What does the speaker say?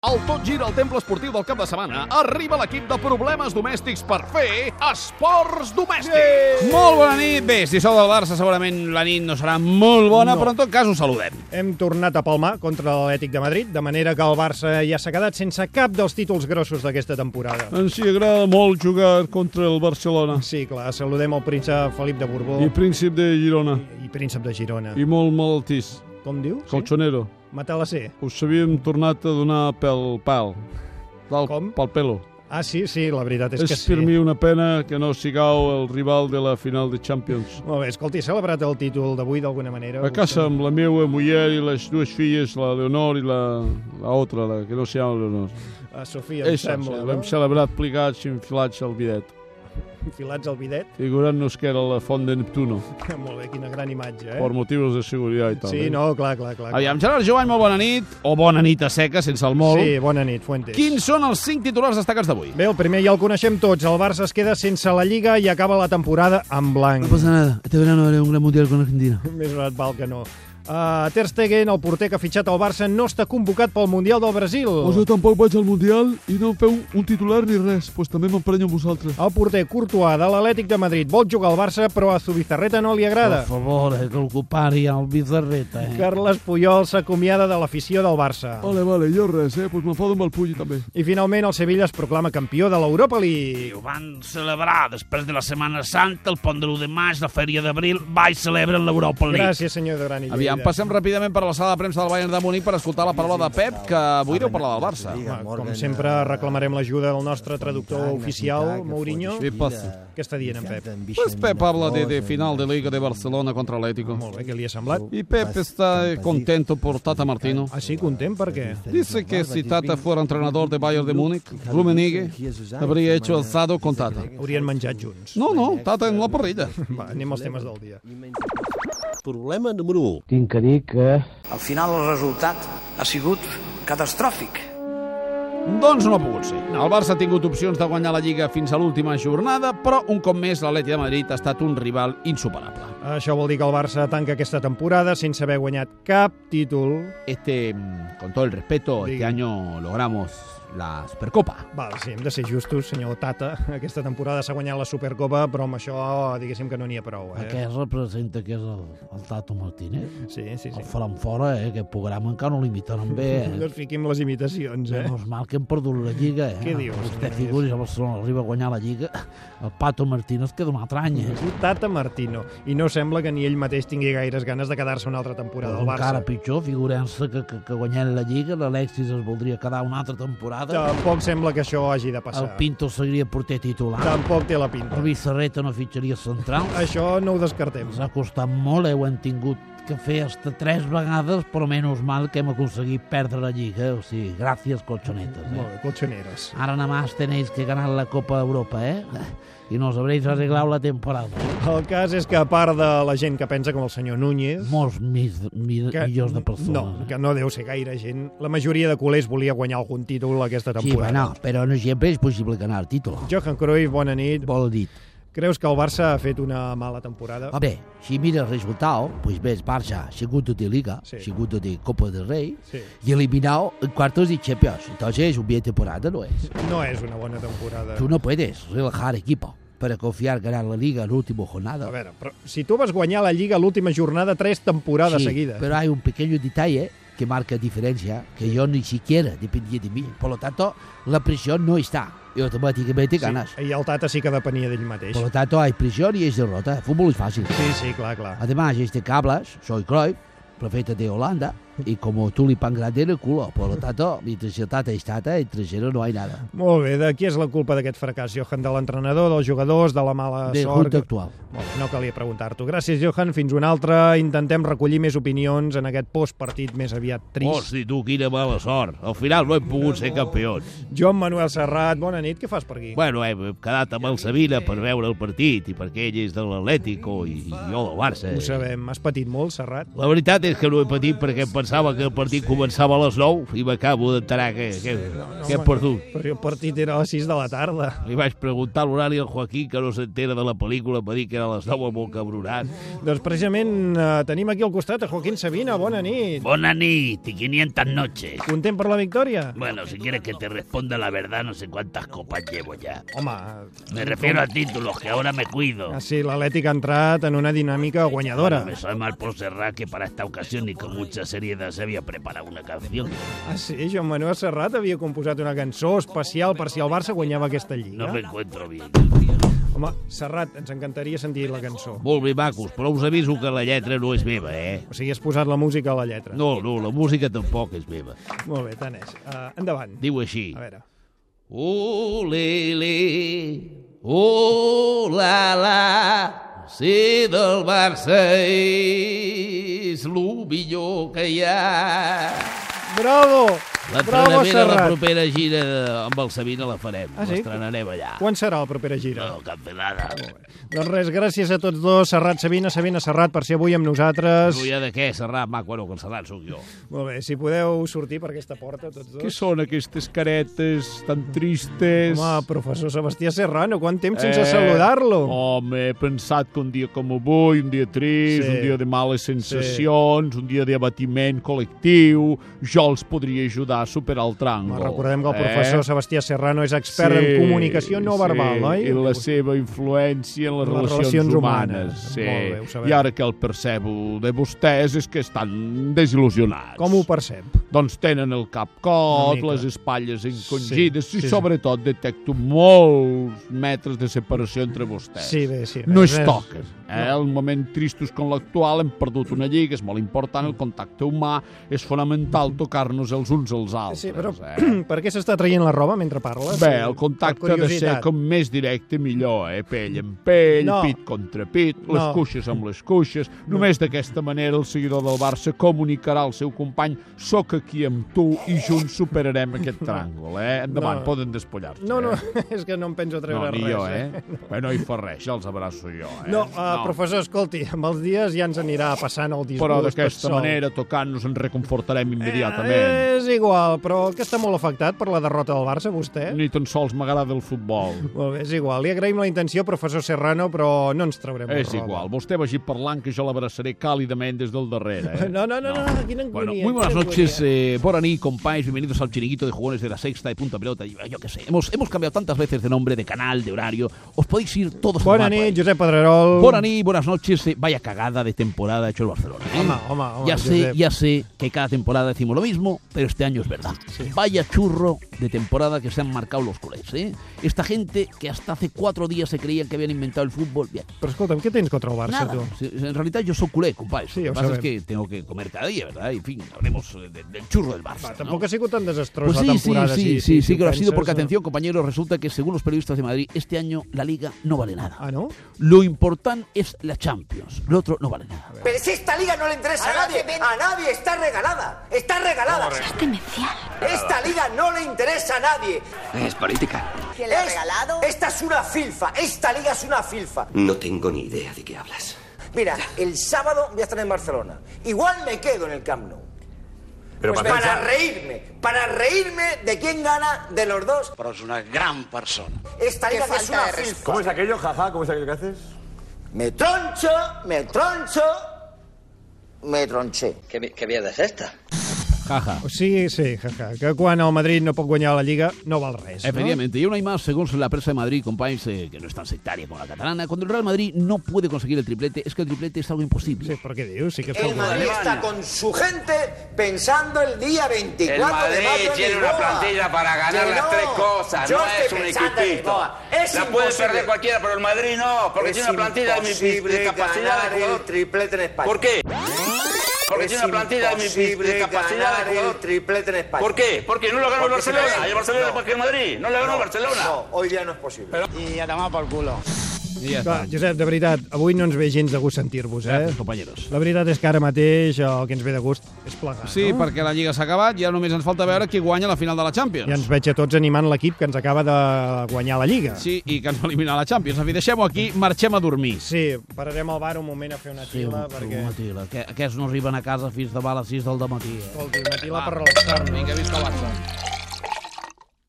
El tot gira al temple esportiu del cap de setmana. Arriba l'equip de problemes domèstics per fer esports domèstics. Molt bona nit. Bé, si sou del Barça, segurament la nit no serà molt bona, No. però en tot cas us saludem. Hem tornat a palmar contra l'Atlètic de Madrid, de manera que el Barça ja s'ha quedat sense cap dels títols grossos d'aquesta temporada. Ens hi agrada molt jugar contra el Barcelona Sí, clar, saludem el príncep Felip de Borbó i i, Príncip de Girona i príncep de Girona. I... i molt malaltís. Com diu? Colchonero, Matar la C. us havíem tornat a donar pel pal. Del, Com? Pel pelo. Ah, sí, sí, la veritat és, És, que per sí. mi una pena que no sigau el rival de la final de Champions. Molt bé, escolti, he celebrat el títol d'avui d'alguna manera. A casa amb la meva muller i les dues filles, la Leonor i la, la otra, la que no s'hi llama Leonor. A Sofia, em Això, sembla, sí, no? l'hem celebrat plegats i enfilats al bidet. Filats al bidet. Figurant-nos que era la font de Neptuno, Molt bé, quina gran imatge, eh? per motius de seguretat i tal. Sí, eh? no, clar, clar, clar. clar. Aviam, Gerard Jovany, molt bona nit, o bona nit a seca, sense el molt. Sí, bona nit, Fuentes. Quins són els cinc titulars destacats d'avui? Bé, el primer ja el coneixem tots. El Barça es queda sense la Lliga i acaba la temporada en blanc. nada, este verano haré un gran mundial con Argentina. Més donat val que no. Uh, Ter Stegen, el porter que ha fitxat el Barça, no està convocat pel Mundial del Brasil. Pues jo tampoc vaig al Mundial i no em feu un titular ni res, doncs pues també m'emprenyo amb vosaltres. El porter Courtois de l'Atlètic de Madrid vol jugar al Barça, però a Zubizarreta no li agrada. favor, eh, que algú pari el bizarreta, eh? Carles Puyol s'acomiada de l'afició del Barça. Vale, vale, jo res, eh? Doncs pues m'enfado amb el Puy també. I finalment el Sevilla es proclama campió de l'Europa Ho League. van celebrar després de la Setmana Santa, el pont de l'1 de maig, la fèria d'abril, vaig celebren l'Europa League. Gràcies, senyor de Gran i Aviam, Lleida. passem ràpidament per la sala de premsa del Bayern de Múnich per escoltar la paraula de Pep, que avui deu parlar del Barça. Home, Com sempre, reclamarem l'ajuda del nostre traductor oficial, Mourinho. Sí, passa. Què està dient en Pep? Pues Pep habla de, de final de Liga de Barcelona contra Atlético. Molt bé, què li ha semblat? Y Pep está contento por Tata Martino. Ah, sí, content, per què? Dice que si Tata fuera entrenador de Bayern de Múnich, Rummenigge habría hecho alzado con Tata. Haurien menjat junts. No, no, Tata en la parrilla. Va, anem als temes del dia. Problema número 1. Tinc que dir que Al final el resultat ha sigut catastròfic. Doncs no ha pogut ser. El Barça ha tingut opcions de guanyar la Lliga fins a l'última jornada, però un cop més l'Atleti de Madrid ha estat un rival insuperable. Això vol dir que el Barça tanca aquesta temporada sense haver guanyat cap títol. Este, mm, con todo el respeto, este Digue. año logramos la Supercopa. Val, sí, hem de ser justos, senyor Tata. Aquesta temporada s'ha guanyat la Supercopa, però amb això diguéssim que no n'hi ha prou. Eh? Eh? Què representa que és el, el Tato Martínez? Sí, sí, El sí. faran fora, eh? Aquest programa encara no l'imitaran bé, No eh? ens fiquim les imitacions, eh? Menys mal que hem perdut la Lliga, eh? Què dius, Vostè senyor? figuri, el Barcelona arriba a guanyar la Lliga, el Pato Martínez queda un altre any, eh? Tata Martino. I no sembla que ni ell mateix tingui gaires ganes de quedar-se una altra temporada al Barça. encara pitjor, figurant-se que, que, que guanyant la Lliga, l'Alexis es voldria quedar una altra temporada, Tampoc sembla que això hagi de el passar. Pinto seguiria porter titular, Tampoc té la El pinta. Bizarreta no fitxaria central. Això no ho descartem. Ens ha costat molt, eh? ho hem tingut que fer hasta tres vegades, però menys mal que hem aconseguit perdre la Lliga. O sigui, gràcies, colxonetes. Eh? Molt bé, colxoneres. Ara nomás tenéis que ganar la Copa de Europa, eh? I nos habréis arreglado la temporada. El cas és que, a part de la gent que pensa com el senyor Núñez... Molts mi, mi, millors de persones. eh? No, que no deu ser gaire gent. La majoria de culers volia guanyar algun títol aquesta Sí, temporada. bueno, però no sempre és possible ganar el títol. Johan Cruyff, bona nit. Vol dir, Creus que el Barça ha fet una mala temporada? A bé, si mira el resultat, doncs bé, el Barça ha sigut de Liga, Sí. ha sigut de Copa del Rei, Sí. y eliminado en cuartos de Champions. Entonces, un bien temporada no es. No és una bona temporada. Tú no puedes relajar equipo para confiar ganar la liga en la última A jornada. veure, però si tu vas guanyar la Lliga l'última jornada tres temporades Sí, seguides. pero hay un pequeño detalle que marca diferencia, que yo ni siquiera dependía de mí. Por lo tanto, la presión no está. Y automáticamente ganas. Sí, I el Tata sí que depenia d'ell mateix. Por lo tanto, hay presión y es derrota. El fútbol es fácil. Sí, sí, clar, clar. Además, este Cablas, soy Cruyff, profeta de Holanda, y como tulipán grande en el culo. Por lo tanto, mientras el tata es tata, entre cero no hay nada. Molt bé, de qui és la culpa d'aquest fracàs, Johan? De l'entrenador, dels jugadors, de la mala De sort? junta actual. Molt bé, no calia preguntar-t'ho. Gràcies, Johan. Fins una altra. Intentem recollir més opinions en aquest postpartit més aviat trist. Hosti, tu, quina mala sort. Al final no hem pogut ser campions. Joan Manuel Serrat, bona nit. Què fas per aquí? Bueno, hem quedat amb el Sabina per veure el partit i perquè ell és de l'Atlético i jo del Barça. eh, Ho sabem. Has patit molt, Serrat? La veritat és que no he patit perquè he pensava que el partit començava a les 9 i m'acabo d'enterar que, que, que he perdut. Però si el partit era a les 6 de la tarda. Li vaig preguntar l'horari al Joaquín, que no s'entera de la pel·lícula, em va dir que era a les 9 molt cabronat. Doncs precisament eh, tenim aquí al costat a Joaquín Sabina. Bona nit. Bona nit i 500 noches. Content per la victòria? Bueno, si quieres que te responda la verdad, no sé cuántas copas llevo ya. Home, Me refiero a títulos, que ahora me cuido. ah, sí, l'Atlètic ha entrat en una dinàmica guanyadora. Me sabe mal por Serrat que para esta ocasión y con mucha seriedad se había preparado una canción. Ah, sí? Joan Manuel Serrat havia composat una cançó especial per si el Barça guanyava aquesta lliga. No me encuentro bien. Home, Serrat, ens encantaria sentir la cançó. Molt bé, macos, però us aviso que la lletra no és meva, eh? O sigui, has posat la música a la lletra. No, no, la música tampoc és meva. Molt bé, tant és. Uh, endavant. Diu així. A veure. Olele, oh la la, ser del Barça és el millor que hi ha. Bravo! Bravo, L'entrenament a la Serrat! propera gira amb el Sabina la farem. Ah, sí? L'estrenarem allà. Quan serà la propera gira? No, cancelada. Doncs res, gràcies a tots dos, Serrat Sabina, Sabina Serrat, per ser avui amb nosaltres. No hi ha de què, Serrat, maco, no, que el Serrat sóc jo. Molt bé, si podeu sortir per aquesta porta, tots Què dos. són aquestes caretes tan tristes? Eh, Home, professor Sebastià Serrano, quant temps sense saludar-lo? Home, he pensat que un dia com avui, un dia trist, Sí. sí. un dia de males sensacions, sí. un dia d'abatiment col·lectiu, jo els podria ajudar a superar el Eh? Home, tràngol. Recordem que el professor Sebastià Serrano és expert en comunicació no verbal, oi? I la seva influència en les, En les relacions, relacions humanes. humanes. Sí. Molt bé, ho sabem. I ara que el percebo de vostès és que estan desil·lusionats. Com ho percep? Doncs tenen el cap cot, mica. les espatlles encongides Sí, sí, sí, sí, sí. i sobretot detecto molts metres de separació entre vostès. Sí, bé, sí. No res, es res. toquen. Eh? El moment tristos com l'actual hem perdut una lliga, és molt important el contacte humà, és fonamental tocar-nos els uns als altres. Sí, però eh? per què s'està traient la roba mentre parles? Bé, el Per contacte ha de ser Ah, curiositat. com més directe millor, eh? Pell amb pell, no. No. pit contra pit, les No. cuixes amb les cuixes. Només d'aquesta manera el seguidor del Barça comunicarà al seu company soc aquí amb tu i junts superarem aquest tràngol, eh? Endavant, No. no. poden despullar-se. No, no, eh? és que no em penso treure No, ni res. jo, eh? Bé, no hi fa res, ja els abraço jo, eh? No, uh, no, professor, escolti, amb els dies ja ens anirà passant el disgust. Però tot d'aquesta sol. manera, tocant-nos, ens reconfortarem immediatament. Eh, és igual, però el que està molt afectat per la derrota del Barça, vostè? Ni tan sols m'agrada el futbol. Molt bé, és igual. Li agraïm la intenció, professor Serrano, però no ens traurem la És roba. igual, vostè vagi parlant que jo l'abraçaré càlidament des del darrere. Eh? No, no, no, no, quina angúnia. Bueno, muy buenas noches, eh, Boraní, compáis, bienvenidos al chiringuito de jugones de la sexta de punta pelota, y, yo qué sé, hemos, hemos cambiado tantas veces de nombre, de canal, de horario, os podéis ir todos Bona al mapa nit, ahí. Josep Pedrerol. Bona nit, buenas noches, eh, vaya cagada de temporada ha hecho el Barcelona. ¿eh? Home, home, home, ya sé, Josep. ya sé que cada temporada decimos lo mismo, pero este año es verdad. Vaya churro de temporada que se han marcado los culés, ¿eh? Esta gente que hasta hace cuatro días se creían que habían inventado el fútbol, bien, Però escolta'm, què tens contra el Barça, Nada. tu? Sí, En realidad yo soy culé, compadre. Sí, lo que o pasa sea, es que tengo que comer cada día, ¿verdad? Y, En fin, hablemos eh, de- del churro del Barça. Va, ¿no? tampoc ha sigut tan desastrosa Pues sí, la sí, temporada. sí, si- si sí, sí que lo ha penses, sido, porque no? atención, compañeros, resulta que según los periodistas de Madrid, este año la liga no vale nada. Ah, no? Lo importante es la Champions, lo otro no vale nada. Pero si esta liga no le interesa a nadie, a nadie, está regalada, está regalada. Es demencial. Esta liga no le interesa a nadie. Es política. ¿Quién le ha regalado? Esta es una filfa, esta liga es una filfa. No tengo ni idea de qué hablas. Mira, el sábado voy a estar en Barcelona. Igual me quedo en el Camp Nou. Pero Pues para reírme, para reírme de quién gana de los dos. Pero es una gran persona. Esta liga Qué que es falta una de respeto. filfa. es aquello, jaja? ¿Cómo es aquello que haces? Me troncho, me troncho, me tronché. ¿Qué, qué mierda es esta? Jaja. O sigui, sí, jaja, que quan el Madrid no pot guanyar la Lliga no val res, no? Efectivamente, y aún hay más, según la prensa de Madrid, compañeros, eh, que no es tan sectaria como la catalana, cuando el Real Madrid no puede conseguir el triplete, es que el triplete es algo imposible. Sí, però què dius? Sí que està El Madrid está con su gente pensando el día 24 El Madrid de mayo en tiene una Lisboa. plantilla para ganar Que las tres cosas, yo no estoy es un pensando en equipito. Lisboa. La Es puede imposible. perder cualquiera, pero el Madrid no, porque Es tiene una plantilla de mi imposible discapacidad ganar de jugador. el triplete en España. ¿Por qué? Porque Es tiene una plantilla de mi imposible discapacidad ganar de jugador. el triplete en España. ¿Por qué? Porque no lo ganó el Porque se Barcelona. ven. Y el Barcelona No. porque el Madrid. No lo ganó el Barcelona. No, hoy día no es posible. Y a tomar por culo. I ja Clar, està. Josep, de veritat, avui no ens ve gens de gust sentir-vos, eh? Gràcies, companyeros. La veritat és que ara mateix el que ens ve de gust és plegar, Sí, no? perquè la Lliga s'ha acabat i ara només ens falta veure qui guanya la final de la Champions. Ja ens veig a tots animant l'equip que ens acaba de guanyar la Lliga. Sí, i que ens va eliminar la Champions. En fi, deixem-ho aquí, marxem a dormir. Sí, pararem al bar un moment a fer una Sí, tila, un- perquè... una tila. Que, aquests no arriben a casa fins demà a les 6 del matí. Eh? Escolti, una tila per relaxar-nos. Vinga, visca el Barça.